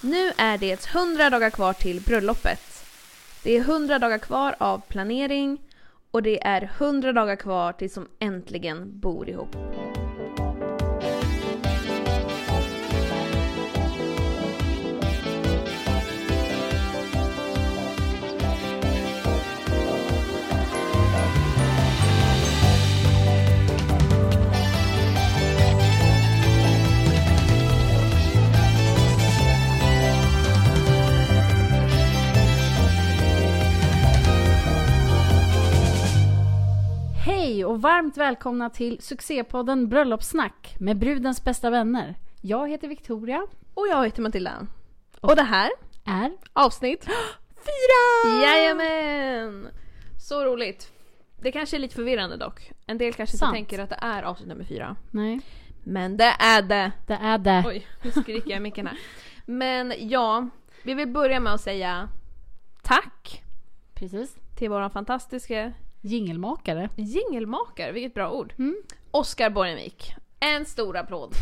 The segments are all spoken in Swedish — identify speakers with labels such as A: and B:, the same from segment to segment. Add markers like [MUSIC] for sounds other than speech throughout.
A: Nu är det 100 dagar kvar till bröllopet. Det är 100 dagar kvar av planering och det är 100 dagar kvar tills de äntligen bor ihop.
B: Hej och varmt välkomna till succépodden Bröllopssnack med brudens bästa vänner. Jag heter Victoria.
A: Och jag heter Matilda. Och det här,
B: Är?
A: avsnitt
B: Fyra!
A: Jajamän! Så roligt. Det kanske är lite förvirrande dock. En del kanske
B: Sant.
A: inte tänker att det är avsnitt nummer fyra.
B: Nej,
A: Men det är det!
B: det är det.
A: Oj, nu skriker jag i micken här. Men ja, vi vill börja med att säga tack
B: Precis.
A: till vår fantastiska
B: Jingelmakare.
A: jingelmakare, vilket bra ord.
B: Mm.
A: Oskar Borgenvik. En stor applåd.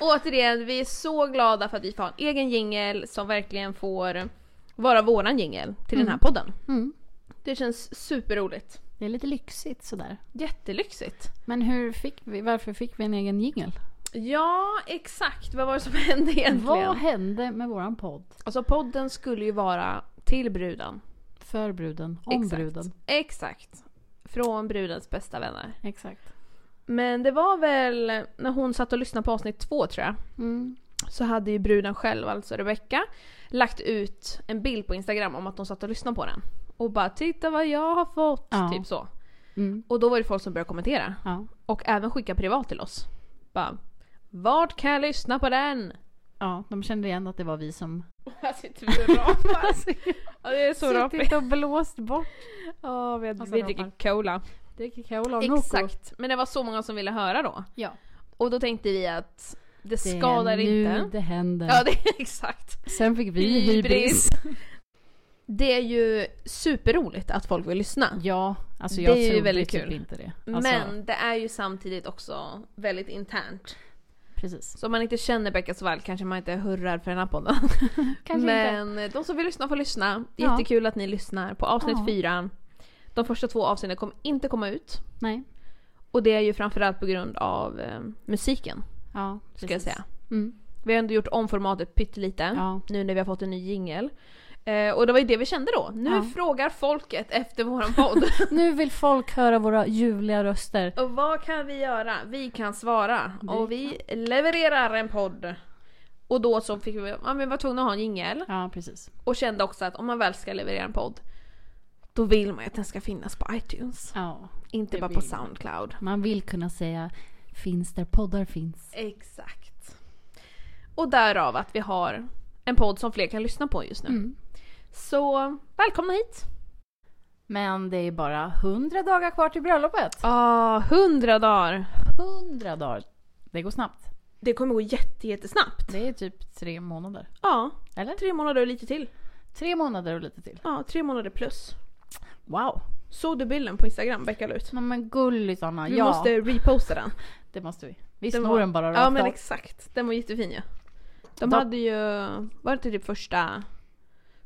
A: Återigen, vi är så glada för att vi får ha en egen jingel som verkligen får vara våran jingel till den här podden.
B: Mm.
A: Det känns superroligt.
B: Det är lite lyxigt sådär.
A: Jättelyxigt.
B: Men hur fick vi, varför fick vi en egen jingel?
A: Ja, exakt. Vad var det som [LAUGHS] hände egentligen?
B: Vad hände med våran podd?
A: Alltså podden skulle ju vara till bruden.
B: För bruden, om
A: Exakt.
B: bruden.
A: Exakt. Från brudens bästa vänner.
B: Exakt.
A: Men det var väl när hon satt och lyssnade på avsnitt två tror jag.
B: Mm.
A: så hade ju bruden själv, alltså Rebecca, lagt ut en bild på Instagram om att de satt och lyssnade på den. Och bara “titta vad jag har fått”
B: Ja.
A: typ så.
B: Mm.
A: Och då var det folk som började kommentera.
B: Ja.
A: Och även skicka privat till oss. Bara “vart kan jag lyssna på [LAUGHS] den?”
B: ja, de kände igen att det var vi som
A: Här sitter vi och rapar. ja, det är så rapigt.
B: suttit och blåst bort.
A: Ja, vi,
B: Och så
A: vi dricker
B: rapar.
A: cola.
B: Dricker cola och Nocco.
A: Exakt. Men det var så många som ville höra då.
B: Ja.
A: Och då tänkte vi att det
B: Det är
A: skadar
B: nu
A: inte.
B: det händer.
A: Ja, det är [LAUGHS] exakt.
B: Sen fick vi hybris.
A: Det är ju superroligt att folk vill lyssna.
B: Ja, alltså
A: Det
B: jag
A: är ju
B: trodde
A: väldigt
B: typ
A: kul.
B: inte det. Alltså,
A: Men det är ju samtidigt också väldigt internt.
B: Precis.
A: Så om man inte känner Becka så väl kanske man inte hurrar för den här podden. Men de som vill lyssna får lyssna.
B: Ja.
A: Jättekul att ni lyssnar på avsnitt
B: Ja.
A: fyra. De första två avsnitten kommer inte komma ut.
B: Nej.
A: Och det är ju framförallt på grund av eh, musiken,
B: Ja,
A: ska
B: precis.
A: jag säga.
B: Mm.
A: Vi har ändå gjort om formatet pyttelite.
B: Ja.
A: Nu när vi har fått en ny jingel. Eh, och det var ju det vi kände då. Nu
B: Ja.
A: frågar folket efter våran podd. [LAUGHS]
B: Nu vill folk höra våra ljuvliga röster.
A: Och vad kan vi göra? Vi kan svara.
B: Vi
A: och vi levererar en podd. Och då så fick vi, ja men vi var tvungna att ha en jingel.
B: Ja, precis.
A: Och kände också att om man väl ska leverera en podd. Då vill man ju att den ska finnas på iTunes.
B: Ja.
A: Inte
B: det
A: bara på
B: vill man.
A: Soundcloud.
B: Man vill kunna säga finns där poddar finns.
A: Exakt. Och därav att vi har en podd som fler kan lyssna på just nu.
B: Mm.
A: Så välkomna hit!
B: Men det är bara hundra dagar kvar till bröllopet.
A: Ah, hundra dagar!
B: Hundra dagar. Det går snabbt.
A: Det kommer gå jätte, jättesnabbt.
B: Det är typ tre månader.
A: Ja,
B: Eller?
A: tre månader och lite till.
B: Tre månader och lite till.
A: Ja, tre månader plus.
B: Wow.
A: Såg du bilden på Instagram Becka la ut?
B: Men, men gulligt Anna.
A: Vi
B: ja,
A: måste reposta den.
B: det måste vi. Vi
A: Den
B: snor
A: var-
B: den bara
A: Ja
B: rakt
A: men
B: av.
A: exakt, den var jättefin ju. Ja. De
B: De-
A: hade ju, var det inte typ första,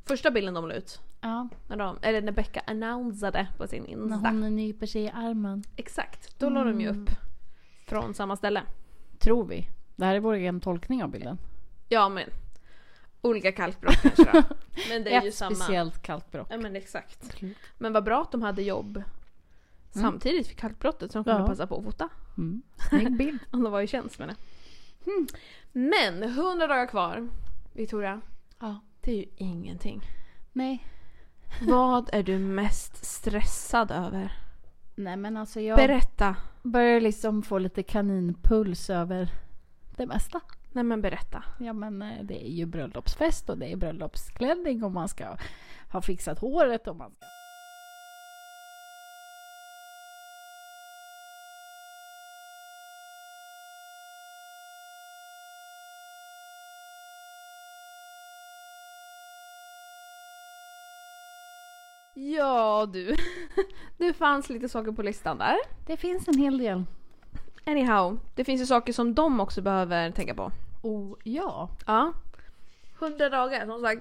A: första bilden de la ut?
B: Ja,
A: När de, eller när Becka annonsade på sin
B: när
A: Insta.
B: hon Mm. nyper sig i armen.
A: Exakt, då la de ju upp från samma ställe.
B: Tror vi. Det här är vår egen tolkning av bilden.
A: Ja men, olika
B: [LAUGHS]
A: kalkbrott kanske då. Men det är ju
B: Ett
A: samma.
B: speciellt kallt brock.
A: Ja men exakt. Men vad bra att de hade jobb samtidigt för kalkbrottet så de kunde
B: Mm. Ja.
A: passa på att fota.
B: Mm. Snygg bild.
A: Om de var i tjänst med det.
B: Hmm.
A: Men 100 dagar kvar, Victoria.
B: [LAUGHS] ja.
A: Det är ju ingenting.
B: Nej.
A: Vad är du mest stressad över?
B: Nej men alltså jag
A: Berätta.
B: börjar liksom få lite kaninpuls över det mesta.
A: Nej men berätta.
B: Ja men eh, det är ju bröllopsfest och det är bröllopsklänning och man ska ha fixat håret och man ska...
A: Ja du. [LAUGHS] Det fanns lite saker på listan där.
B: Det finns en hel del.
A: Anyhow, det finns ju saker som de också behöver tänka på.
B: oh ja.
A: Ja. 100 dagar, som sagt.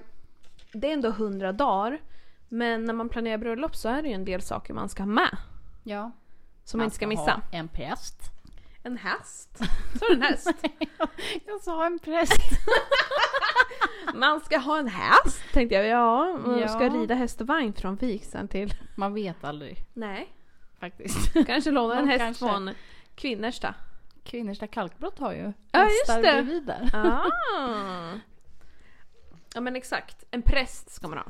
A: Det är ändå 100 dagar. Men när man planerar bröllop så är det ju en del saker man ska ha med.
B: Ja.
A: Som man inte ska missa.
B: Ha en präst.
A: En häst. Så en
B: [LAUGHS]
A: häst.
B: Jag sa en präst.
A: Man ska ha en häst tänkte jag. Ja, man
B: Ja.
A: ska rida häst och vagn från vigseln till...
B: Man vet aldrig
A: Nej.
B: faktiskt.
A: Kanske låna en
B: Ja,
A: häst
B: kanske.
A: från Kvinnersta.
B: Kvinnersta kalkbrott har ju
A: Ja, just
B: hästar
A: det.
B: bredvid där.
A: Ah. Ja men exakt. En präst ska man ha.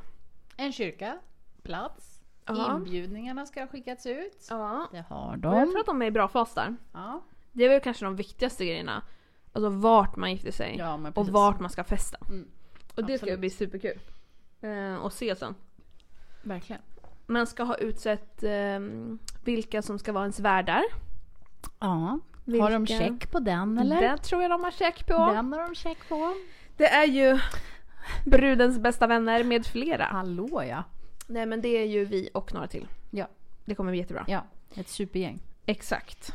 B: En kyrka, plats,
A: Ja.
B: inbjudningarna ska ha skickats ut.
A: Ja.
B: Det har
A: Och jag tror
B: de.
A: att de är i bra fas där.
B: Ja,
A: Det var ju kanske de viktigaste grejerna. Alltså vart man gifter sig.
B: ja men
A: och
B: precis.
A: vart man ska festa.
B: Mm.
A: Och det ska ju
B: Absolut.
A: bli superkul. Eh, och se sen.
B: Verkligen.
A: Man ska ha utsett eh, vilka som ska vara ens värdar.
B: Ja.
A: Vilka-
B: Har de check på den eller?
A: Det tror jag de har check på.
B: Den har de check på.
A: Det är ju brudens bästa vänner med flera.
B: Hallå ja.
A: Nej men det är ju vi och några till.
B: Ja.
A: Det kommer bli jättebra.
B: Ja, ett supergäng.
A: Exakt.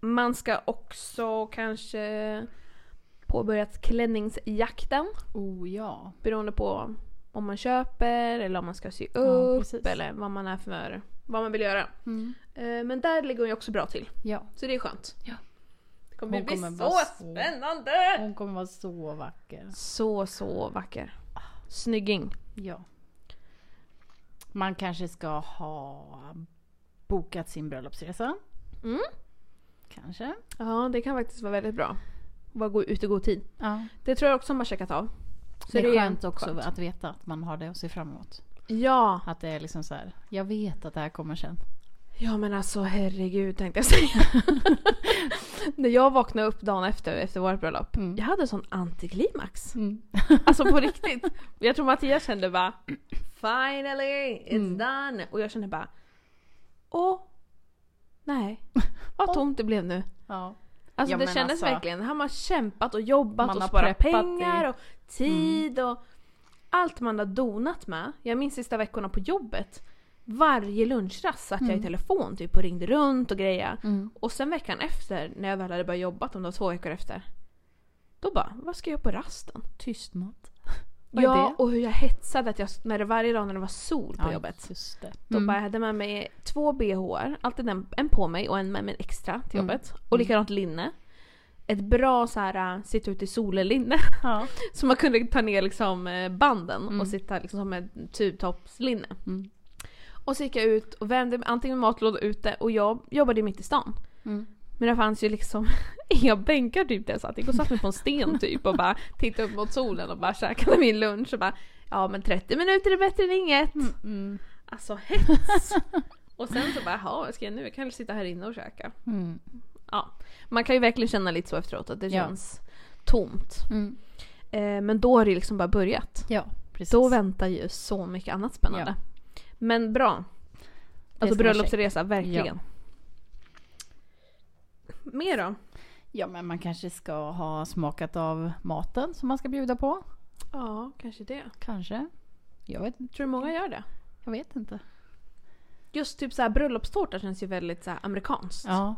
A: Man ska också kanske påbörjat klänningsjakten.
B: Oh ja.
A: Beroende på om man köper eller om man ska sy upp
B: precis.
A: eller vad man är för vad man vill göra.
B: Mm.
A: Eh, Men där ligger hon ju också bra till.
B: Ja,
A: Så det är skönt.
B: Ja.
A: Det kommer
B: Hon
A: bli
B: kommer
A: så
B: vara så-
A: spännande!
B: hon kommer vara så vacker.
A: Så, så vacker. Snygging.
B: Ja. Man kanske ska ha bokat sin bröllopsresa.
A: Mm.
B: Kanske.
A: Ja, det kan faktiskt vara väldigt bra. Bara gå ut i god tid.
B: Ja.
A: Det tror jag också de har checkat av.
B: Så det är skönt också
A: skönt.
B: att veta att man har det att se fram emot.
A: Ja.
B: Att det är liksom så här, jag vet att det här kommer sen.
A: Ja men alltså herregud tänkte jag säga. När jag vaknade upp dagen efter, efter vårt bröllop.
B: Mm.
A: Jag hade sån
B: [LAUGHS]
A: antiklimax.
B: Mm.
A: Alltså på riktigt. Jag tror Mattias kände bara Finally it's done. Och jag kände bara Åh. Nej. Vad tomt det blev nu.
B: Ja.
A: Alltså
B: Ja,
A: det
B: men
A: kändes
B: alltså-
A: verkligen. Han har kämpat och jobbat
B: Man
A: och
B: har
A: sparat
B: preppat Mm.
A: pengar och tid och allt man har donat med. Jag minns sista veckorna på jobbet. Varje lunchrast satt jag i telefon typ och ringde runt och grejer.
B: Mm.
A: Och sen veckan efter när jag väl hade börjat jobba, om det var två veckor efter. Då bara, vad ska jag göra på rasten?
B: Tystnad. Vad är
A: Ja,
B: det?
A: och hur jag hetsade att jag, när det varje dag när det var sol på jobbet.
B: just det. Mm.
A: Då bara, jag hade med mig två bhar, alltid en, en på mig och en med mig extra till jobbet. Och likadant linne. Ett bra så här äh, sitta ute i solen linne.
B: Ja.
A: [LAUGHS] Så man kunde ta ner liksom eh, banden och sitta liksom som ett tubtoppslinne.
B: Mm.
A: Och så gick jag ut och värmde mig antingen med matlåda ute och jag jobbade mitt i stan.
B: Mm.
A: Men det fanns ju liksom [LAUGHS] inga bänkar typ där jag satt. Jag gick och satt mig på en sten typ och bara tittade upp mot solen och bara käkade min lunch och bara ja men 30 minuter är bättre än inget.
B: Mm.
A: Alltså hets! [LAUGHS] och sen så bara, jaha vad ska jag nu? Jag kan väl sitta här inne och käka.
B: Mm.
A: Ja. Man kan ju verkligen känna lite så efteråt att det
B: Ja.
A: känns tomt.
B: Mm.
A: Eh, men då har det liksom bara börjat.
B: Ja, precis.
A: Då väntar ju så mycket annat spännande. Men bra.
B: Det
A: Alltså
B: ska man
A: bröllopsresa, verkligen. Mer då?
B: Ja, men man kanske ska ha smakat av maten som man ska bjuda på.
A: Ja, kanske det.
B: Kanske. Jag vet,
A: Tror du många gör det?
B: jag vet inte.
A: Just typ så här bröllopstårta känns ju väldigt så här amerikanskt.
B: Ja,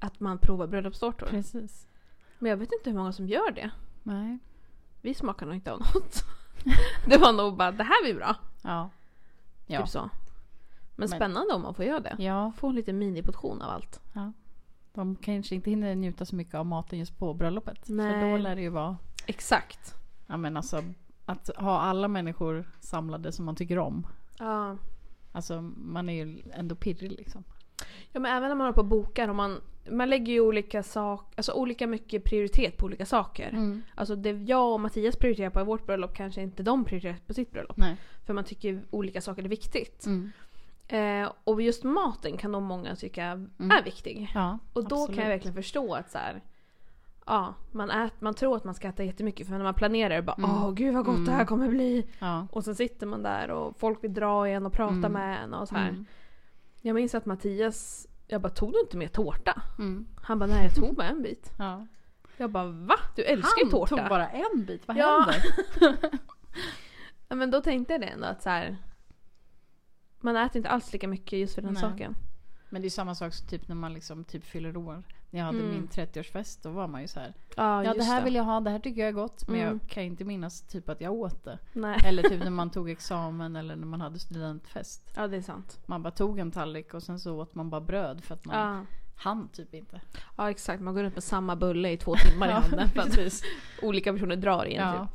A: Att man provar bröllopstårtor.
B: precis.
A: Men jag vet inte hur många som gör det.
B: Nej.
A: vi smakar nog inte av något. [LAUGHS] det var nog bara, det här blir bra.
B: Ja. Ja.
A: Typ så. Men, spännande om man får göra det.
B: ja,
A: Få en liten miniportion av allt.
B: de kanske inte hinner njuta så mycket av maten just på bröllopet. Så
A: Nej.
B: då lär det ju vara,
A: Exakt.
B: ja men alltså, att ha alla människor samlade som man tycker om.
A: Ja.
B: Alltså man är ju ändå pirrig liksom.
A: ja men även när man håller på och bokar. Om man, man lägger ju olika sak, alltså olika mycket prioritet på olika saker.
B: Mm.
A: Alltså det jag och Mattias prioriterar på i vårt bröllop kanske inte de prioriterar på sitt bröllop.
B: Nej.
A: För man tycker ju olika saker är viktigt.
B: Mm.
A: Eh, och just maten kan nog många tycka är viktig.
B: Ja,
A: Och då
B: absolut.
A: kan jag verkligen förstå att så här, ja, man, ät, man tror att man ska äta jättemycket för när man planerar är det bara åh gud vad gott det här kommer bli.
B: Ja.
A: Och sen sitter man där och folk vill dra igen och prata med en och så
B: Mm.
A: här. Jag minns att Mattias, jag bara tog du inte med tårta? Han bara nej jag tog med en bit.
B: ja.
A: Jag bara va? Du älskar ju tårta.
B: tog bara en bit, vad
A: Ja.
B: händer?
A: Ja, Men då tänkte jag det ändå att så här, man äter inte alls lika mycket just för den
B: Nej.
A: saken.
B: Men det är samma sak som typ när man liksom typ fyller år. när jag hade
A: Mm.
B: min 30-årsfest, då var man ju så här.
A: Ja,
B: Ja, det
A: just
B: här vill jag ha, det här tycker jag är gott. Men
A: Mm.
B: jag kan inte minnas typ att jag åt det.
A: Nej.
B: Eller typ när man tog examen eller när man hade studentfest.
A: Ja, det är sant.
B: Man bara tog en tallrik och sen så åt man bara bröd för att man
A: Ja.
B: hann typ inte.
A: ja, exakt. Man går runt med samma bulle i två timmar i
B: Ja, [LAUGHS]
A: handen för att olika personer drar i en typ.
B: Ja.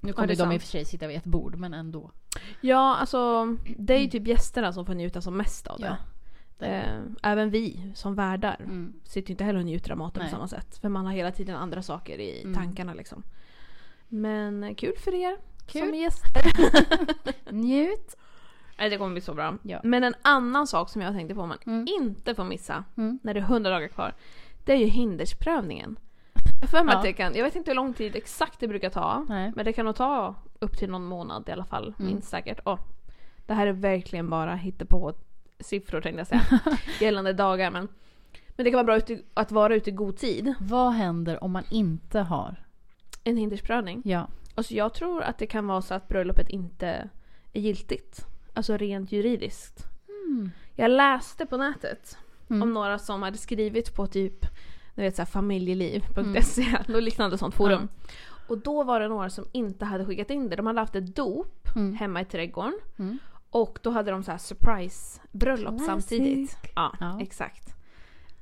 B: Nu
A: Ja,
B: kommer
A: det är
B: de i och
A: sant.
B: för sig sitta vid ett bord, men ändå.
A: Ja, alltså det är ju typ gästerna som får njuta som mest av det.
B: det är
A: Eh, även vi som värdar
B: det. Mm.
A: sitter ju inte heller och njuter av maten
B: Nej.
A: på samma sätt. För man har hela tiden andra saker i
B: Mm.
A: tankarna liksom. Men eh, kul för er
B: Kul.
A: som gäster.
B: Njut!
A: Nej, det kommer bli så bra.
B: Ja.
A: Men en annan sak som jag tänkte på man
B: Mm.
A: inte får missa
B: Mm.
A: när det är 100 dagar kvar. Det är ju hindersprövningen. Jag har för mig
B: Ja.
A: att det kan, jag vet inte hur lång tid exakt det brukar ta.
B: Nej.
A: Men det kan nog ta upp till någon månad i alla fall,
B: Mm.
A: minst säkert. Och det här är verkligen bara på siffror tänkte jag
B: [LAUGHS]
A: säga. Gällande dagar men. Men det kan vara bra ute, att vara ute i god tid.
B: Vad händer om man inte har?
A: En hindersprövning.
B: Ja.
A: Alltså jag tror att det kan vara så att bröllopet inte är giltigt. Alltså rent juridiskt.
B: Mm.
A: Jag läste på nätet
B: Mm.
A: om några som hade skrivit på typ ni vet, så här, familjeliv.se [LAUGHS]
B: Mm.
A: och liknande sånt forum. Och då var det några som inte hade skickat in det. De hade haft ett dop
B: Mm.
A: hemma i trädgården.
B: Mm.
A: Och då hade de så här surprise-bröllop
B: Classic.
A: samtidigt. Ja,
B: Ja.
A: exakt.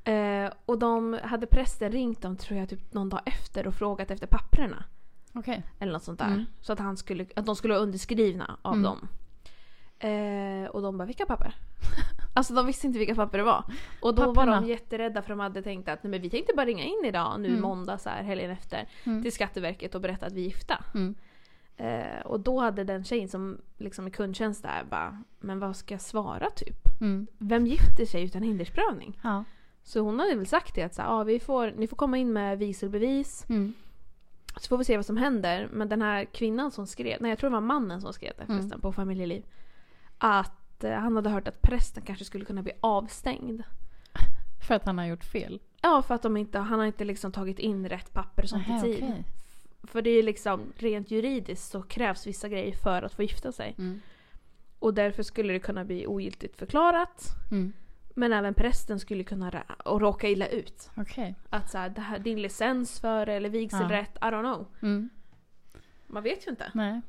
A: Eh, och de hade prästen ringt dem tror jag typ någon dag efter och frågat efter papperna.
B: Okej.
A: Eller något sånt där.
B: Mm.
A: Så att, han skulle, att de skulle vara underskrivna av
B: Mm.
A: dem. Eh, och de bara, vilka papper? [LAUGHS] alltså de visste inte vilka papper det var. Och då var
B: Papperna.
A: de jätterädda för de hade tänkt att nej, men vi tänkte bara ringa in idag nu
B: Mm.
A: måndag så här helgen efter
B: Mm.
A: till Skatteverket och berätta att vi är gifta.
B: Mm.
A: Eh, och då hade den tjejen som liksom är kundtjänst där bara, men vad ska jag svara typ?
B: Mm.
A: Vem gifter sig utan hindersprövning?
B: Ja.
A: Så hon hade väl sagt det att så här, ah, vi får, ni får komma in med viselbevis
B: Mm.
A: så får vi se vad som händer. Men den här kvinnan som skrev, nej jag tror det var mannen som skrev det
B: Mm.
A: förresten på Familjeliv. Att eh, han hade hört att prästen kanske skulle kunna bli avstängd.
B: För att han har gjort fel.
A: Ja för att de inte, han har inte liksom tagit in rätt papper och sånt i
B: Nähä,
A: tid.
B: okej.
A: För det är liksom rent juridiskt så krävs vissa grejer för att få gifta sig.
B: Mm.
A: Och därför skulle det kunna bli ogiltigt förklarat.
B: Mm.
A: Men även prästen skulle kunna rä- och råka illa ut.
B: Okej.
A: Att så här, det här, din licens för eller vigselrätt, I don't know.
B: Mm.
A: Man vet ju inte.
B: [LAUGHS] Nej.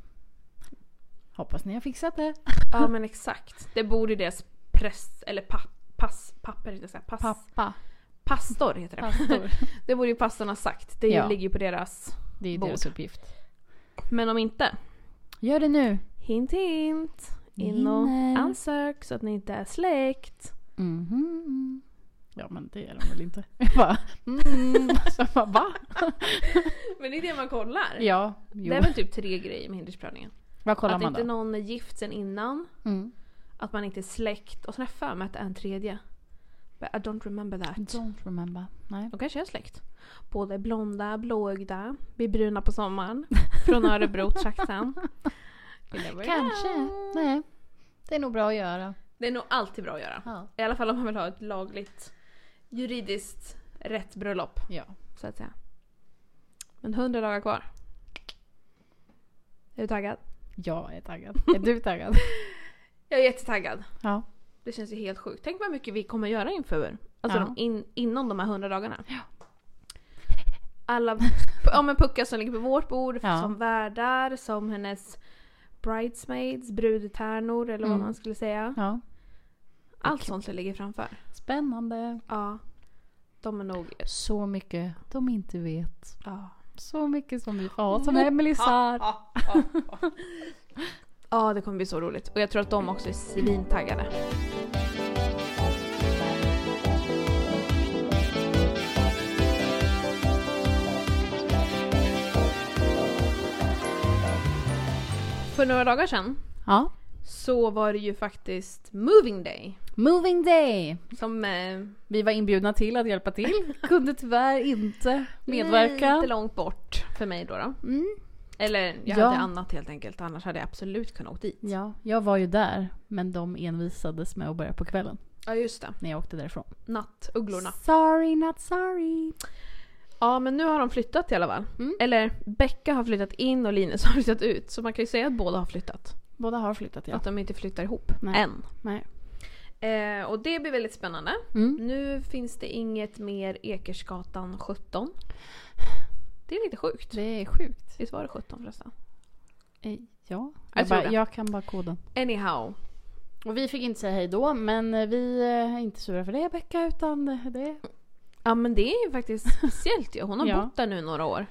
B: Hoppas ni har fixat det.
A: Ja men exakt. Det borde deras präst, eller pa, pass, papper heter det, pass,
B: Pappa.
A: pastor heter det.
B: Pastor.
A: Det borde ju pastorn ha sagt. Det
B: Ja.
A: ligger ju på deras.
B: Det är ju
A: Bord.
B: deras uppgift.
A: Men om inte,
B: Gör det nu.
A: hint hint. In och
B: Hinner.
A: ansök så att ni inte är släkt.
B: Mhm. Ja men det är de väl inte. [LAUGHS] Jag bara, mm. Så jag bara [LAUGHS] va?
A: Men det är det man kollar.
B: Ja, jo.
A: Det är väl typ tre grejer med hindersprövningen.
B: Vad kollar
A: Att
B: man
A: inte
B: då?
A: någon är gift sen innan.
B: Mm.
A: Att man inte är släkt. Och sen har jag för mig att det är en tredje. But I don't remember that.
B: Don't remember. Nej.
A: De kanske är släkt. Både blonda, blåögda, blir bruna på sommaren. Från
B: [LAUGHS]
A: Örebro-trakten. You never
B: Kanske.
A: know.
B: Nej. Det är nog bra att göra.
A: Det är nog alltid bra att göra.
B: Ja.
A: I alla fall om man vill ha ett lagligt, juridiskt rätt bröllop. Så att säga. Men 100 dagar kvar. Är du taggad?
B: Jag är taggad. Är du [LAUGHS] taggad?
A: Jag är jättetaggad.
B: Ja.
A: Det känns ju helt sjukt. Tänk vad mycket vi kommer göra inför. Alltså
B: Ja.
A: de in, inom de här 100 dagarna. Alla ja, men puckar som ligger på vårt bord,
B: Ja.
A: som värdar, som hennes bridesmaids, brudtärnor eller vad
B: Mm.
A: man skulle säga.
B: ja.
A: Allt sånt som ligger framför.
B: Spännande.
A: Ja. De är nog...
B: Så mycket de inte vet.
A: Ja.
B: Så mycket som vi får ha som Emelie sa.
A: Ja, ja,
B: [LAUGHS]
A: ja. ja, det kommer bli så roligt. Och jag tror att de också är svintaggade. För några dagar sedan
B: Ja.
A: så var det ju faktiskt Moving Day.
B: Moving day!
A: Som eh,
B: Vi var inbjudna till att hjälpa till. Kunde tyvärr inte
A: lite
B: medverka.
A: långt bort för mig då. då.
B: Mm.
A: Eller jag
B: Ja.
A: hade annat helt enkelt. Annars hade jag absolut kunnat åka dit.
B: Ja, jag var ju där. Men de envisades med att börja på kvällen
A: Ja just det.
B: när jag åkte därifrån.
A: Nattugglorna.
B: Sorry not sorry.
A: Ja men nu har de flyttat i alla fall.
B: Mm.
A: Eller Becka har flyttat in och Linus [LAUGHS] har flyttat ut. Så man kan ju säga att båda har flyttat.
B: Båda har flyttat ja.
A: Att de inte flyttar ihop.
B: Nej.
A: Än.
B: Nej.
A: Eh, och det blir väldigt spännande.
B: Mm.
A: Nu finns det inget mer Ekersgatan 17. Det är lite sjukt.
B: Det är sjukt.
A: Visst var det 17 förresten?
B: Eh, Ja, jag,
A: Jag tror
B: bara,
A: det.
B: jag kan bara koden.
A: Anyhow.
B: Och vi fick inte säga hej då, men eh, vi eh, är inte sura för det Becka, utan det- det...
A: Ja men det är ju [LAUGHS] faktiskt speciellt ju. Hon har
B: Ja.
A: bott där nu några år.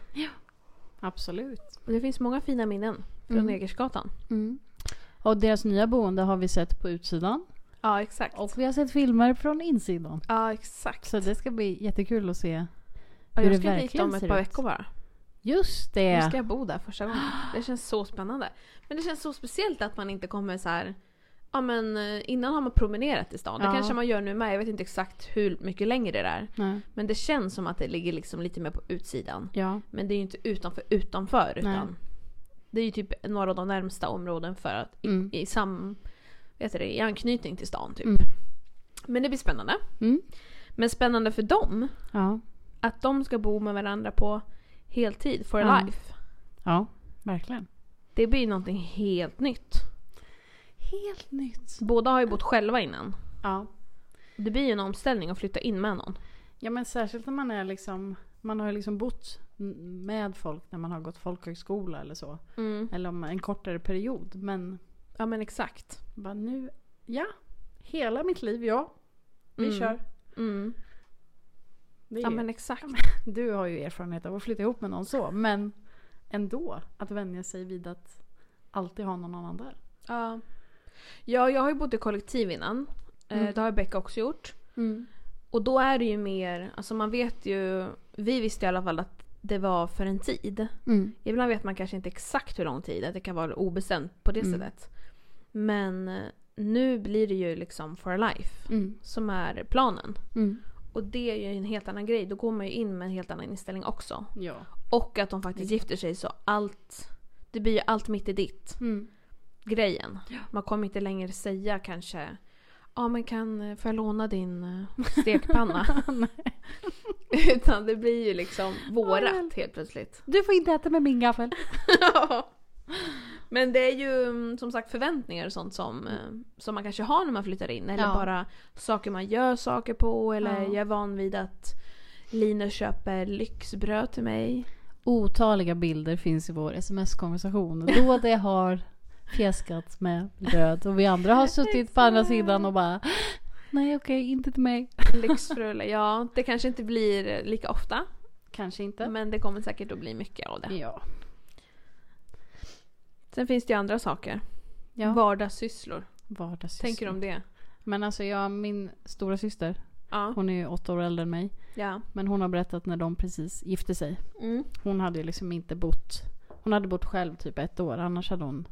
B: Absolut.
A: Och det finns många fina minnen från
B: Mm.
A: Ekersgatan.
B: Mm. Och deras nya boende har vi sett på utsidan.
A: Ja exakt.
B: Och vi har sett filmer från insidan.
A: Ja exakt.
B: Så det ska bli jättekul att se.
A: Ja,
B: hur det
A: jag ska dit
B: verkligen
A: om ett
B: ser
A: par
B: ut.
A: veckor bara.
B: Just
A: Nu
B: det!
A: ska jag bo där första gången. Det känns så spännande. Men det känns så speciellt att man inte kommer så här. Ja men eh, innan har man promenerat i stan. Det
B: Ja.
A: kanske man gör nu med. Jag vet inte exakt hur mycket längre det är.
B: Nej.
A: Men det känns som att det ligger liksom lite mer på utsidan.
B: Ja.
A: Men det är ju inte utanför utanför.
B: Nej.
A: Utan det är ju typ några av de närmsta områden för att
B: Mm.
A: i, sam, vet du det, i anknytning till stan typ.
B: Mm.
A: Men det blir spännande.
B: Mm.
A: Men spännande för dem
B: Ja.
A: att de ska bo med varandra på heltid for
B: Ja.
A: life.
B: Ja, verkligen.
A: Det blir ju någonting helt nytt.
B: Helt nytt.
A: Båda har ju bott själva innan.
B: Ja.
A: Det blir ju en omställning att flytta in med någon.
B: Ja men särskilt när man är liksom, man har ju liksom bott n- med folk när man har gått folkhögskola eller så. Eller om en kortare period. Men
A: Mm. Ja men exakt.
B: bara nu, ja. Hela mitt liv, ja. Vi
A: Mm.
B: kör.
A: Mm.
B: Det är
A: Ja men exakt.
B: Du har ju erfarenhet av att flytta ihop med någon så, men ändå att vänja sig vid att alltid ha någon annan där.
A: Ja. ja, jag har ju bott i kollektiv innan. Eh,
B: Mm.
A: Det har ju Becka också gjort. Och då är det ju mer, alltså man vet ju, vi visste i alla fall att det var för en tid.
B: Mm.
A: Ibland vet man kanske inte exakt hur lång tid, att det kan vara obestämt på det
B: Mm.
A: sättet. Men eh, nu blir det ju liksom for life som är planen. Och det är ju en helt annan grej, då går man ju in med en helt annan inställning också.
B: Ja.
A: Och att de faktiskt gifter sig så allt, det blir ju allt mitt i ditt grejen. Man kommer inte längre säga kanske Ja men kan, får jag låna din eh, stekpanna? [LAUGHS] Utan det blir ju liksom vårat helt plötsligt.
B: Du får inte äta med min gaffel.
A: [LAUGHS] men det är ju mm, som sagt förväntningar och sånt som, eh, som man kanske har när man flyttar in. Eller
B: Ja.
A: bara saker man gör saker på. Eller
B: Ja.
A: jag är van vid att Linus köper lyxbröd till
B: [LAUGHS]
A: mig.
B: Otaliga bilder finns i vår sms-konversation då det har fjäskats med bröd och vi andra har suttit på andra sidan och bara Nej okej, inte till mig.
A: Lyxfrulle, ja det kanske inte blir lika ofta.
B: Kanske inte.
A: Men det kommer säkert att bli mycket av det.
B: Ja.
A: Sen finns det ju andra saker.
B: ja.
A: Vardagssysslor.
B: Vardagssysslor.
A: Tänker du om det?
B: Men alltså jag, min stora syster,
A: Ja.
B: hon är ju åtta år äldre än mig.
A: ja.
B: Men hon har berättat när de precis gifte sig. Hon hade ju liksom inte bott... Hon hade bott själv typ ett år. Annars hade hon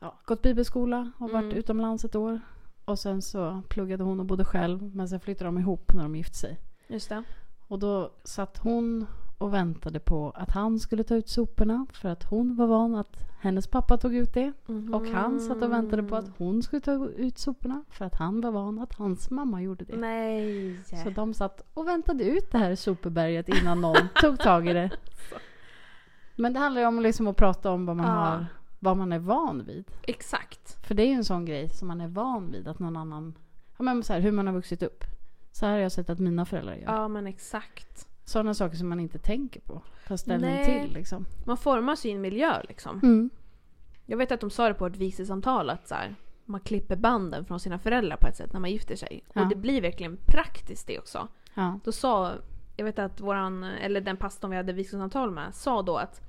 B: ja, gått bibelskola och varit
A: Mm.
B: utomlands ett år. Och sen så pluggade hon och bodde själv. Men sen flyttade de ihop när de gifte sig.
A: Just det.
B: Och då satt hon och väntade på att han skulle ta ut soporna. För att hon var van att hennes pappa tog ut det. Mm. Och han satt och väntade på att
A: Mm.
B: hon skulle ta ut soporna. För att han var van att hans mamma gjorde det.
A: Nej.
B: Så de satt och väntade ut det här superberget
A: [LAUGHS]
B: innan någon tog tag i det. Men det handlar ju om liksom att prata om vad man,
A: Ja.
B: har, vad man är van vid.
A: Exakt.
B: För det är ju en sån grej som man är van vid att någon annan... Ja men så här, hur man har vuxit upp. Så här har jag sett att mina föräldrar gör.
A: Ja men exakt.
B: Sådana saker som man inte tänker på. Tar ställning
A: Nej.
B: till liksom.
A: Man formar sin miljö liksom.
B: Mm.
A: Jag vet att de sa det på ett vigselsamtal att så här, man klipper banden från sina föräldrar på ett sätt när man gifter sig.
B: Ja.
A: Och det blir verkligen praktiskt det också.
B: Ja.
A: Då sa, jag vet att våran, eller den pastorn vi hade vigselsamtal med sa då att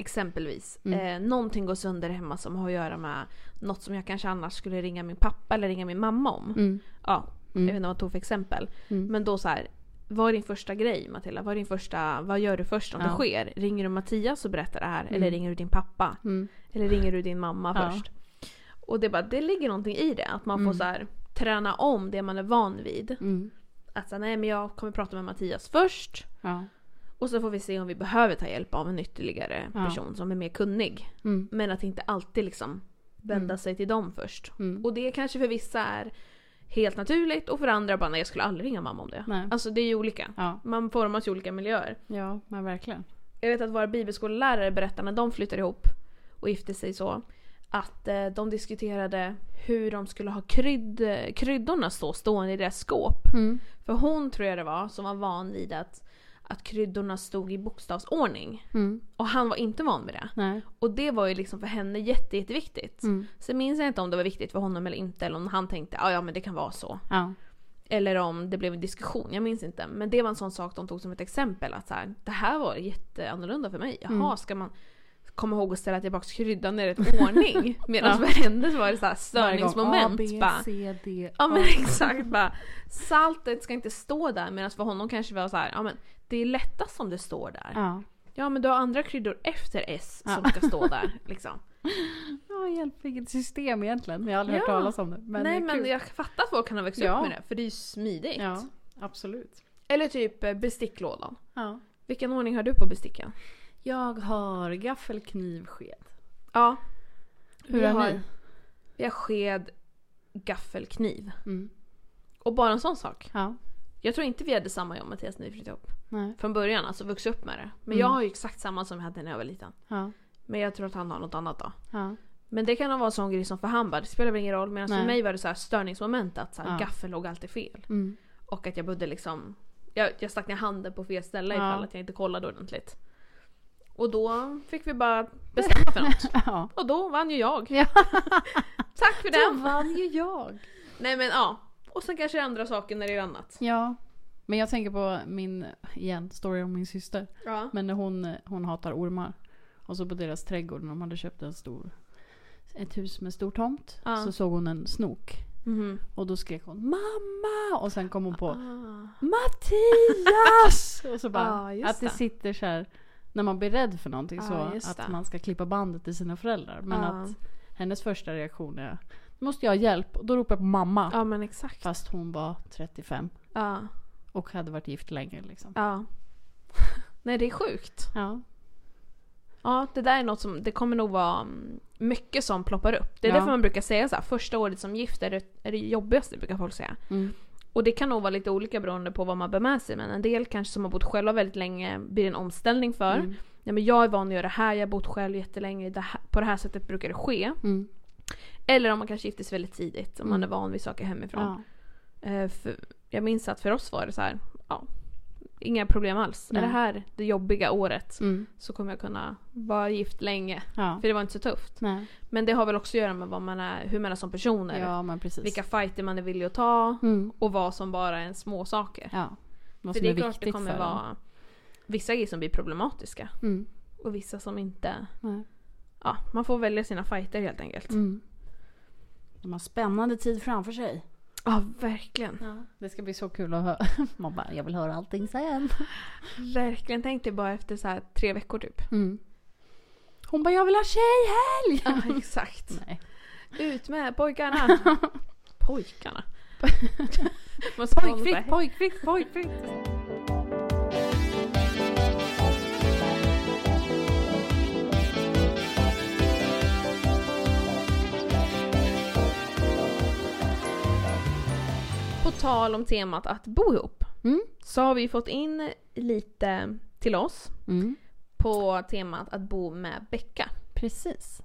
A: exempelvis
B: Mm.
A: eh, någonting går sönder hemma som har att göra med något som jag kanske annars skulle ringa min pappa eller ringa min mamma om.
B: Mm.
A: Ja, jag
B: Mm.
A: vet inte vad jag tog för exempel.
B: Mm.
A: Men då så här, vad är din första grej Matilda? Vad är din första, vad gör du först om
B: Ja.
A: det sker? Ringer du Mattias och berättar det här?
B: Mm.
A: Eller ringer du din pappa?
B: Mm.
A: Eller ringer du din mamma
B: Ja.
A: först? Och det, är bara, det ligger någonting i det, att man
B: Mm.
A: får så här, träna om det man är van vid.
B: Mm.
A: Att säga nej men jag kommer prata med Mattias först.
B: Ja.
A: Och så får vi se om vi behöver ta hjälp av en ytterligare
B: Ja.
A: person som är mer kunnig.
B: Mm.
A: Men att inte alltid liksom vända
B: Mm.
A: sig till dem först.
B: Mm.
A: Och det kanske för vissa är helt naturligt och för andra bara nej jag skulle aldrig ringa mamma om det.
B: Nej.
A: Alltså det är ju olika.
B: Ja.
A: Man formas i olika miljöer.
B: ja, men verkligen.
A: Jag vet att våra bibelskollärare berättar när de flyttar ihop och gifter sig så. att eh, de diskuterade hur de skulle ha krydd, kryddorna stå stående i deras skåp.
B: Mm.
A: För hon tror jag det var som var van vid att, att kryddorna stod i bokstavsordning.
B: Mm.
A: Och han var inte van vid det.
B: Nej.
A: Och det var ju liksom för henne jätte, jätteviktigt.
B: Mm.
A: Sen minns jag inte om det var viktigt för honom eller inte eller om han tänkte ah, ja men det kan vara så.
B: Ja.
A: Eller om det blev en diskussion, jag minns inte. Men det var en sån sak de tog som ett exempel. Att så här, det här var jätteannorlunda för mig. Jaha,
B: Mm.
A: ska man komma ihåg att ställa tillbaka kryddan i rätt ordning? Medan
B: [LAUGHS] Ja.
A: för henne så var det så här
B: Varje gång. A,
A: störningsmoment.
B: B,
A: bara,
B: C, D,
A: ja men
B: A.
A: [LAUGHS] exakt. Bara, saltet ska inte stå där. Medan för honom kanske var så här, ja men det är lättast om det står där. Ja,
B: Ja.
A: men du har andra kryddor efter S som
B: Ja.
A: ska stå
B: [LAUGHS]
A: där. Liksom.
B: Ja, hjälp vilket system egentligen. Jag har aldrig hört
A: Ja.
B: talas om det. Men
A: Nej
B: det är
A: men
B: kul.
A: jag fattar att folk kan ha växt
B: Ja.
A: upp med det. För det är ju smidigt.
B: Ja, absolut.
A: Eller typ eh, besticklådan.
B: Ja.
A: Vilken ordning har du på besticken?
B: Jag har gaffel, kniv, sked.
A: Ja.
B: Hur
A: vi
B: har
A: har
B: ni?
A: Vi har sked, gaffel, kniv.
B: Mm.
A: Och bara en sån sak.
B: Ja.
A: Jag tror inte vi hade samma jag och Mattias när vi flyttade ihop.
B: Nej.
A: Från början, alltså vuxit upp med det. Men
B: Mm.
A: jag har ju exakt samma som jag hade när jag var liten.
B: Ja.
A: Men jag tror att han har något annat då.
B: Ja.
A: Men det kan nog vara en sån grej som för han bara, det spelar väl ingen roll. Medan
B: Nej.
A: för mig var det så här störningsmoment att så här,
B: Ja.
A: gaffel låg alltid fel.
B: Mm.
A: Och att jag bodde liksom, jag, jag stack ner handen på fel ställe
B: Ja.
A: ifall att jag inte kollade ordentligt. Och då fick vi bara bestämma för
B: [LAUGHS]
A: något.
B: ja.
A: Och då vann ju jag.
B: Ja.
A: Tack för
B: Då
A: den!
B: vann ju jag.
A: Nej men ja. Och sen kanske det är andra saker när det är annat.
B: Ja. Men jag tänker på min, igen, story om min syster.
A: Ja.
B: Men när hon, hon hatar ormar. Och så på deras trädgård, när de hade köpt en stor, ett hus med stor tomt.
A: Ja.
B: Så såg hon en snok.
A: Mhm.
B: Och då skrek hon mamma! Och sen kom hon
A: [LAUGHS]
B: på
A: Ah.
B: Mattias! [LAUGHS] Och så bara,
A: Ja, just
B: att det
A: det.
B: sitter så här när man blir rädd för någonting så
A: Ja, just
B: att
A: det.
B: man ska klippa bandet till sina föräldrar. Men
A: Ja.
B: att hennes första reaktion är Nu måste jag ha hjälp och då ropar jag på mamma.
A: Ja men exakt.
B: Fast hon var 35
A: Ja.
B: och hade varit gift länge liksom.
A: ja. [LAUGHS] Nej det är sjukt.
B: Ja.
A: Ja det där är något som, det kommer nog vara mm, mycket som ploppar upp. Det är
B: Ja.
A: därför man brukar säga så här, första året som gift är det, är det jobbigaste brukar folk säga.
B: Mm.
A: Och det kan nog vara lite olika beroende på vad man bär med sig. Men en del kanske som har bott själva väldigt länge blir det en omställning för.
B: Mm.
A: Ja, men jag är van att göra det här, jag har bott själv jättelänge, det här, på det här sättet brukar det ske.
B: Mm.
A: Eller om man kanske giftes väldigt tidigt, om man är
B: Mm.
A: van vid saker hemifrån.
B: Ja.
A: Eh, För jag minns att för oss var det så här, ja, inga problem alls.
B: Nej.
A: Är det här det jobbiga året
B: Mm.
A: så kommer jag kunna vara gift länge.
B: ja.
A: För det var inte så tufft.
B: Nej.
A: Men det har väl också att göra med vad man är, hur man är som personer.
B: Ja men precis.
A: Vilka fighter man är villig att ta
B: Mm.
A: och vad som bara är små saker.
B: Ja. Vad
A: för
B: som
A: det
B: är,
A: är, klart
B: viktigt
A: det kommer
B: för en.
A: vara vissa grejer som blir problematiska
B: Mm.
A: och vissa som inte.
B: Nej.
A: Ja, man får välja sina fighter helt enkelt.
B: Mm. De har spännande tid framför sig.
A: Ja, verkligen.
B: Det ska bli så kul att höra. [LAUGHS] Man bara, jag vill höra allting sen.
A: Verkligen. Tänk dig bara efter så här tre veckor typ.
B: Mm. Hon bara, jag vill ha tjejhelg!
A: Ja, [LAUGHS] exakt.
B: Nej. [LAUGHS]
A: Ut med pojkarna! [LAUGHS] pojkarna? Måste vara
B: Pojkfritt,
A: något
B: pojkfritt, pojkfritt!
A: så här- På tal om temat att bo ihop
B: Mm.
A: så har vi fått in lite till oss
B: Mm.
A: på temat att bo med Becka.
B: Precis.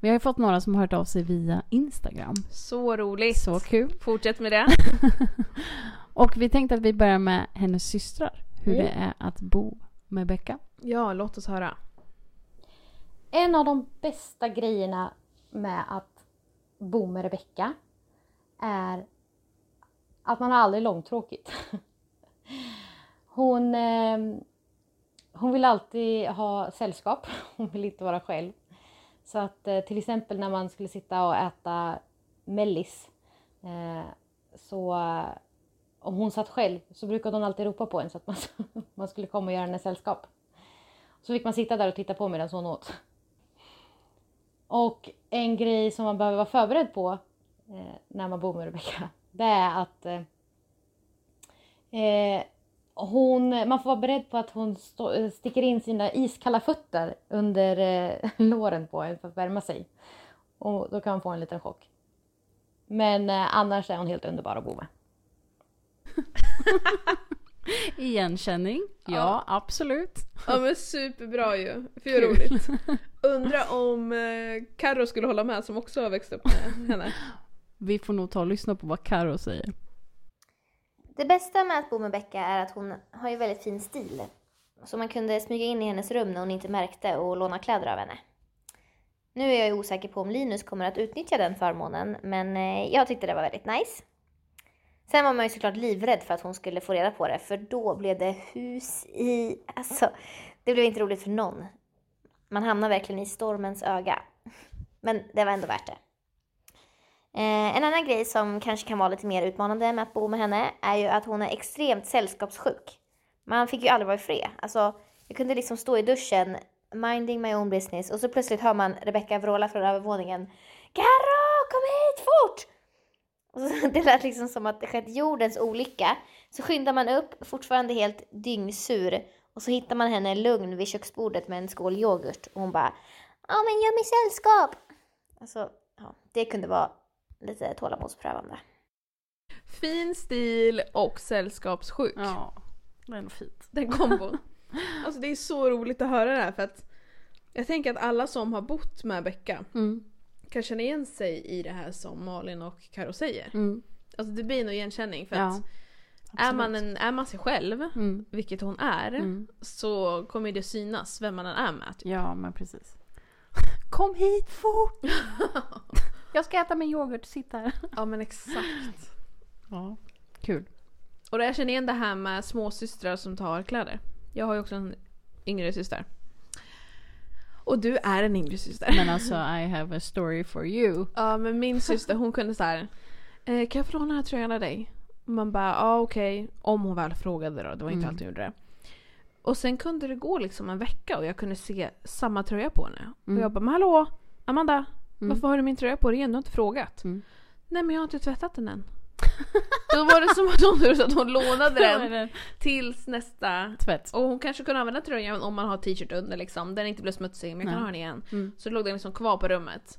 B: Vi har ju fått några som har hört av sig via Instagram.
A: Så roligt!
B: Så kul.
A: Fortsätt med det.
B: Och vi tänkte att vi börjar med hennes systrar. Hur
A: Mm.
B: det är att bo med Becka.
A: Ja, låt oss höra.
C: En av de bästa grejerna med att bo med Rebecka är att man har aldrig långtråkigt. [LAUGHS] Hon, eh, hon vill alltid ha sällskap, [LAUGHS] hon vill inte vara själv. Så att eh, till exempel när man skulle sitta och äta mellis eh, så eh, om hon satt själv så brukade hon alltid ropa på en så att man, [LAUGHS] man skulle komma och göra henne sällskap. Så fick man sitta där och titta på medan hon åt. Och en grej som man behöver vara förberedd på eh, när man bor med Rebecka, det är att eh, eh, hon, man får vara beredd på att hon stå, eh, sticker in sina iskalla fötter under eh, [LAUGHS] låren på en för att värma sig. Och då kan man få en liten chock. Men eh, annars är hon helt underbar att bo med.
B: Igenkänning? Ja,
A: Ja.
B: absolut.
A: Ja men superbra ju. Fy vad
B: Kul. [LAUGHS]
A: roligt. Undra om eh, Carro skulle hålla med som också har växt upp med henne.
B: Vi får nog ta och lyssna på vad Karo säger.
D: Det bästa med att bo med Becka är att hon har ju väldigt fin stil. Så man kunde smyga in i hennes rum när hon inte märkte och låna kläder av henne. Nu är jag ju osäker på om Linus kommer att utnyttja den förmånen, men eh, jag tyckte det var väldigt nice. Sen var man ju såklart livrädd för att hon skulle få reda på det, för då blev det hus i... Alltså, det blev inte roligt för någon. Man hamnar verkligen i stormens öga. Men det var ändå värt det. Eh, en annan grej som kanske kan vara lite mer utmanande med att bo med henne är ju att hon är extremt sällskapssjuk. Man fick ju aldrig vara i fred. Alltså, jag kunde liksom stå i duschen, minding my own business, och så plötsligt hör man Rebecca vråla från övervåningen. Karo, kom hit fort! Och så, [LAUGHS] det lät liksom som att det skett jordens olycka. Så skyndar man upp, fortfarande helt dyngsur, och så hittar man henne lugn vid köksbordet med en skål yoghurt. Och hon bara, ja men gör mig sällskap! Alltså, ja, det kunde vara lite tålamodsprövande.
A: Fin stil och sällskapssjuk.
B: Ja, det är nog fint.
A: Den
B: [LAUGHS]
A: kombon. Alltså det är så roligt att höra det här för att jag tänker att alla som har bott med Becka
B: Mm,
A: kan känna igen sig i det här som Malin och Karo säger.
B: mm,
A: Alltså det blir nog igenkänning för
B: Ja,
A: att är man, en, är man sig själv,
B: mm,
A: vilket hon är,
B: mm.
A: så kommer det synas vem man än är med. typ.
B: Ja, men precis. [LAUGHS] Kom hit fort! [LAUGHS] Jag ska äta min yoghurt, sitt här.
A: Ja men exakt.
B: Ja, kul.
A: Och jag känner igen det här med småsystrar som tar kläder. Jag har ju också en yngre syster. Och du är en yngre syster.
B: Men alltså, I have a story for you.
A: [LAUGHS] Ja men min syster hon kunde så här. Eh, kan jag få låna den här tröjan av dig? Och man bara ja ah, okej. Om hon väl frågade då. Det var inte
B: Mm.
A: alltid hon gjorde det. Och sen kunde det gå liksom en vecka och jag kunde se samma tröja på henne.
B: Mm.
A: Och jag bara men hallå Amanda.
B: Mm.
A: Varför har du min tröja på dig igen? Du har inte frågat.
B: Mm.
A: Nej men jag har inte tvättat den än. [LAUGHS] då var det som att hon, så att hon lånade den tills nästa.
B: Tvätt.
A: Och hon kanske kunde använda tröjan om man har t-shirt under liksom. Den inte blev smutsig men jag kan
B: Nej.
A: ha den igen.
B: Mm.
A: Så låg den liksom kvar på rummet.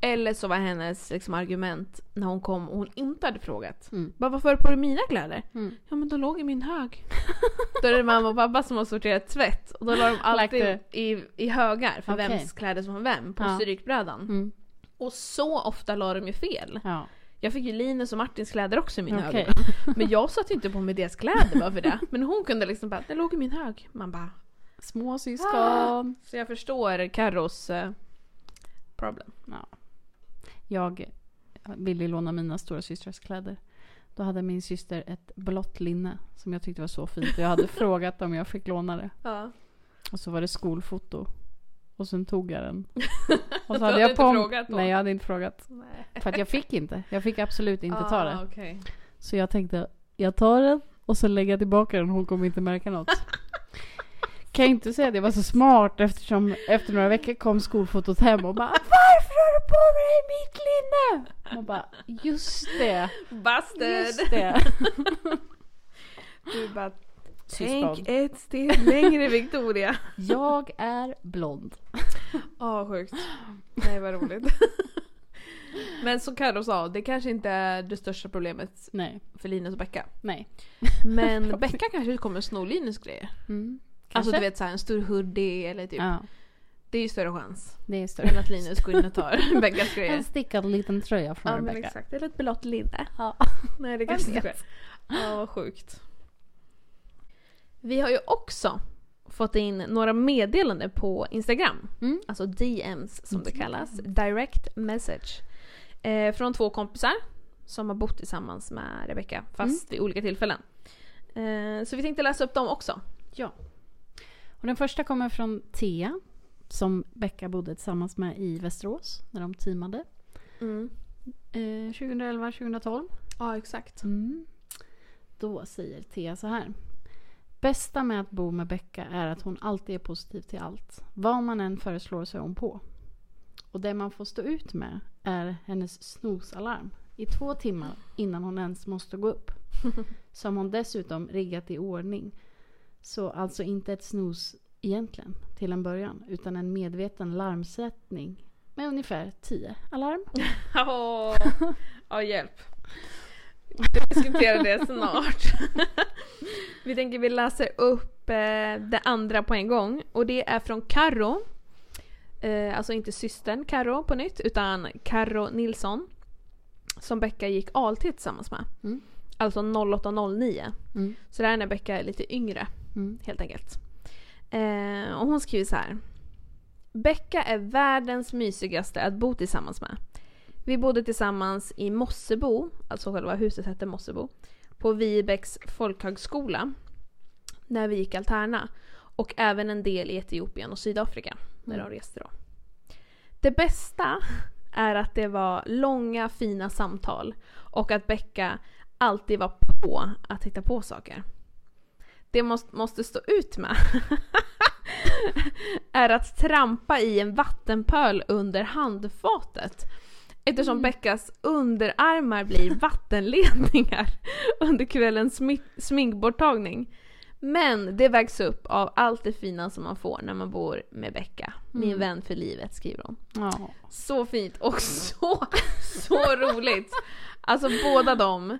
A: Eller så var hennes liksom, argument när hon kom och hon inte hade frågat.
B: Mm.
A: Bara, varför har du på dig mina kläder?
B: Mm.
A: Ja men de låg i min hög. [LAUGHS] då är det mamma och pappa som har sorterat tvätt. Och då la de alltid
B: Like
A: i, i högar för
B: Okej.
A: vems kläder som var vem på
B: Ja.
A: strykbrädan.
B: Mm.
A: Och så ofta la de ju fel.
B: Ja,
A: Jag fick ju Linus och Martins kläder också i min
B: okej.
A: hög. Men jag satte inte på mig deras kläder bara för det. Men hon kunde liksom bara, det låg i min hög. Man bara,
B: Små syskon.
A: så jag förstår Carros eh, problem.
B: Jag ville låna mina stora systrars kläder. Då hade min syster ett blått linne som jag tyckte var så fint. Jag hade [LAUGHS] frågat om jag fick låna det.
A: Ja.
B: Och så var det skolfoto. Och sen tog
A: [LAUGHS]
B: jag den. Och
A: Du hade
B: så hade jag
A: inte
B: på
A: frågat då?
B: Nej, jag hade inte frågat. För att jag fick inte. Jag fick absolut inte ta det.
A: Ah, okej.
B: Så jag tänkte, jag tar den och så lägger jag tillbaka den. Hon kommer inte
A: [LAUGHS]
B: märka något. Kan jag inte säga att jag var så smart eftersom efter några veckor kom skolfotot hem och bara Varför har du på dig mitt linne? Man bara Just det,
A: Bastard! [LAUGHS]
B: just det.
A: Du bara,
B: Syskon.
A: tänk ett steg längre [LAUGHS] Victoria.
B: Jag är blond.
A: Ja, Ah, sjukt. [LAUGHS] Nej, vad roligt. [LAUGHS] Men som Carro sa, det kanske inte är det största problemet
B: Nej,
A: för Linus och Becka.
B: nej.
A: [LAUGHS] Men Becka kanske kommer sno Linus grejer.
B: Mm.
A: Alltså
B: Kanske.
A: du vet såhär en stor hoodie eller typ.
B: Ja,
A: Det är ju större [LAUGHS] chans
B: det är större.
A: än att Linus går in och tar [LAUGHS] Beckas grejer.
B: En stickad liten tröja från
A: Ja men
B: Rebecca.
A: exakt, eller ett blått linne. [LAUGHS]
B: Ja.
A: Nej det
B: Vem
A: kanske inte sker.
B: vet?
A: Ja vad sjukt. Vi har ju också fått in några meddelanden på Instagram.
B: Mm.
A: Alltså DMs som det kallas. Direct message. Eh, från två kompisar som har bott tillsammans med Rebecca fast vid olika tillfällen. Eh, så vi tänkte läsa upp dem också.
B: Och den första kommer från Thea som Becka bodde tillsammans med i Västerås när de teamade. Eh, 2011, 2012.
A: Mm. Ja exakt.
B: Då säger Thea så här. Bästa med att bo med Becka är att hon alltid är positiv till allt. Vad man än föreslår så är hon på. Och det man får stå ut med är hennes snosalarm i två timmar innan hon ens måste gå [LAUGHS] upp. Som hon dessutom riggat i ordning. Så alltså inte ett snos egentligen till en början utan en medveten larmsättning
A: [LAUGHS]
B: med ungefär 10 alarm.
A: Ja, ja hjälp. Vi diskuterar det snart. [LAUGHS] vi tänker vi läser upp eh, det andra på en gång och det är från Karo. Eh, alltså inte systern Karo på nytt utan Karo Nilsson. Som Becka gick ALT tillsammans med.
B: Mm.
A: Alltså 0809.
B: Mm.
A: Så det här är när Becka är lite yngre
B: Mm.
A: helt enkelt. Eh, och hon skriver så här. Becka är världens mysigaste att bo tillsammans med. Vi bodde tillsammans i Mossebo, alltså själva huset hette Mossebo, på Vibecks folkhögskola när vi gick Alterna och även en del i Etiopien och Sydafrika när de reste då. Det bästa är att det var långa fina samtal och att Becka alltid var på att hitta på saker det måste, måste stå ut med [LAUGHS] är att trampa i en vattenpöl under handfatet. Eftersom Beckas underarmar blir vattenledningar [LAUGHS] under kvällens smi- sminkborttagning. Men det vägs upp av allt det fina som man får när man bor med Becka. Min
B: Mm.
A: vän för livet, skriver hon.
B: Ja.
A: Så fint och så, så roligt! Alltså båda dem.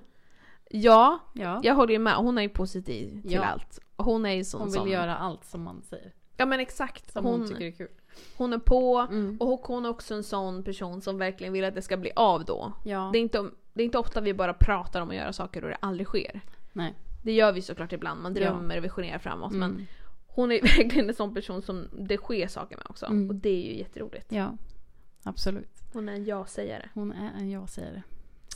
A: Ja,
B: ja.
A: jag håller ju med, hon är ju positiv till
B: Ja.
A: allt. Hon är ju sån
B: Hon vill
A: som...
B: göra allt som man säger.
A: Ja men exakt.
B: Som hon,
A: hon, hon,
B: tycker är kul.
A: är på
B: Mm.
A: och hon är också en sån person som verkligen vill att det ska bli av då.
B: Ja.
A: Det, är inte, det är inte ofta vi bara pratar om att göra saker och det aldrig sker.
B: Nej.
A: Det gör vi såklart ibland, man
B: Ja.
A: drömmer och visionerar framåt men
B: Mm.
A: hon är [LAUGHS] verkligen en sån person som det sker saker med också.
B: Mm.
A: Och det är ju jätteroligt.
B: Ja. Absolut.
A: Hon är en ja-sägare.
B: Hon är en ja-sägare.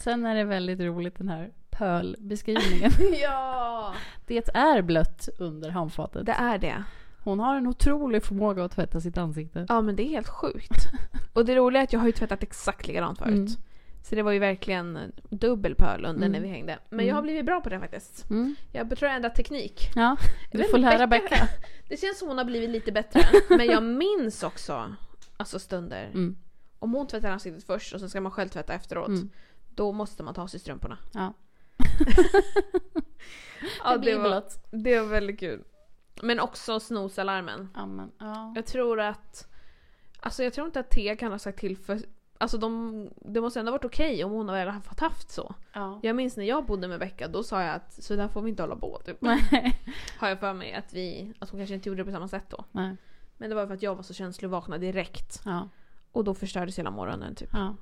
B: Sen är det väldigt roligt den här
A: [LAUGHS]
B: pöl-beskrivningen.
A: ja!
B: det är blött under handfatet.
A: Det är det.
B: Hon har en otrolig förmåga att tvätta sitt ansikte.
A: Ja men det är helt sjukt. Och det roliga är att jag har ju tvättat exakt likadant förut.
B: Mm.
A: Så det var ju verkligen dubbel pöl under
B: Mm.
A: när vi hängde. Men jag har
B: Mm.
A: blivit bra på det faktiskt.
B: Mm.
A: Jag tror jag har ändrat teknik.
B: Ja,
A: vet
B: du
A: inte,
B: får lära
A: Becka. [LAUGHS]
B: Becka.
A: Det känns som hon har blivit lite
B: [LAUGHS]
A: bättre. Men jag minns också alltså stunder.
B: Mm.
A: Om hon tvättar ansiktet först och sen ska man själv tvätta efteråt.
B: Mm.
A: Då måste man ta av sig strumporna. [LAUGHS]
B: Ja.
A: ja,
B: det blir
A: var-
B: blött.
A: det var väldigt kul. Men också snosalarmen.
B: Ja, men, ja.
A: Jag tror att... Alltså jag tror inte att Thea kan ha sagt till för... Alltså de, det måste ändå ha varit okej om hon väl har fått haft så.
B: ja.
A: Jag minns när jag bodde med Becka, då sa jag att så där får vi inte hålla på. Typ.
B: Nej.
A: [LAUGHS] Har jag för mig att vi... Att hon kanske inte gjorde det på samma sätt då.
B: Nej.
A: Men det var för att jag var så känslovakna direkt.
B: Ja.
A: Och då förstördes hela morgonen typ.
B: ja.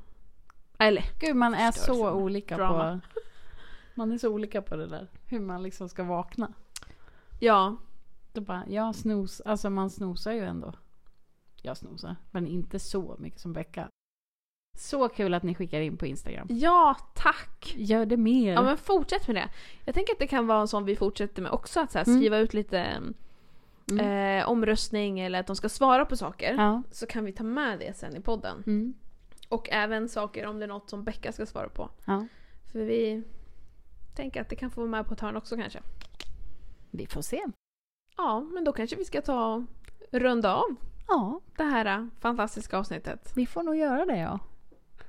A: Eller
B: Gud, man är
A: Förstör
B: så
A: sådana
B: olika
A: drama.
B: på... Man är så olika på det där. Hur man liksom ska vakna.
A: ja,
B: Då bara, jag snos, alltså man snosar ju ändå. Jag snosar, men inte så mycket som Becka. Så kul att ni skickar in på Instagram.
A: ja tack!
B: Gör det mer.
A: Ja men fortsätt med det. Jag tänker att det kan vara en sån vi fortsätter med också, att så här,
B: Mm.
A: skriva ut lite eh, omröstning eller att de ska svara på saker.
B: ja.
A: Så kan vi ta med det sen i podden.
B: Mm.
A: Och även saker om det är något som Becka ska svara på.
B: ja.
A: För vi tänker att det kan få vara med på ett hörn också kanske.
B: Vi får se.
A: Ja, men då kanske vi ska ta och runda av
B: Ja,
A: det här eh, fantastiska avsnittet.
B: vi får nog göra det ja.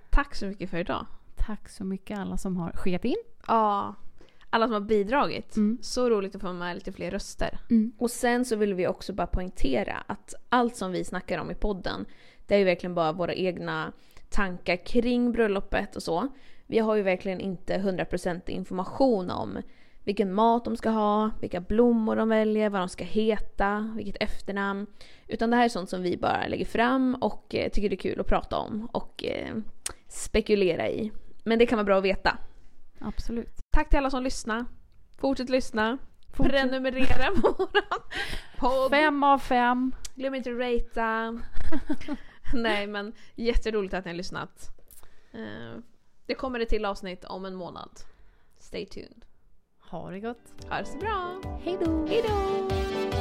A: Tack så mycket för idag.
B: Tack så mycket alla som har skickat in.
A: Ja, alla som har bidragit.
B: Mm.
A: Så roligt att få med lite fler röster.
B: Mm.
A: Och sen så vill vi också bara poängtera att allt som vi snackar om i podden, det är ju verkligen bara våra egna tankar kring bröllopet och så. Vi har ju verkligen inte 100% information om vilken mat de ska ha, vilka blommor de väljer, vad de ska heta, vilket efternamn. Utan det här är sånt som vi bara lägger fram och eh, tycker det är kul att prata om och eh, spekulera i. Men det kan vara bra att veta.
B: Absolut.
A: Tack till alla som lyssnar. Fortsätt lyssna.
B: Fortsätt.
A: Prenumerera på våran podd.
B: Fem av fem.
A: Glöm inte att
B: [LAUGHS]
A: ratea. Nej men jätteroligt att ni har lyssnat. Eh, Det kommer ett till avsnitt om en månad. Stay tuned.
B: Ha det gott.
A: Ha det så bra.
B: Hej då.
A: Hejdå!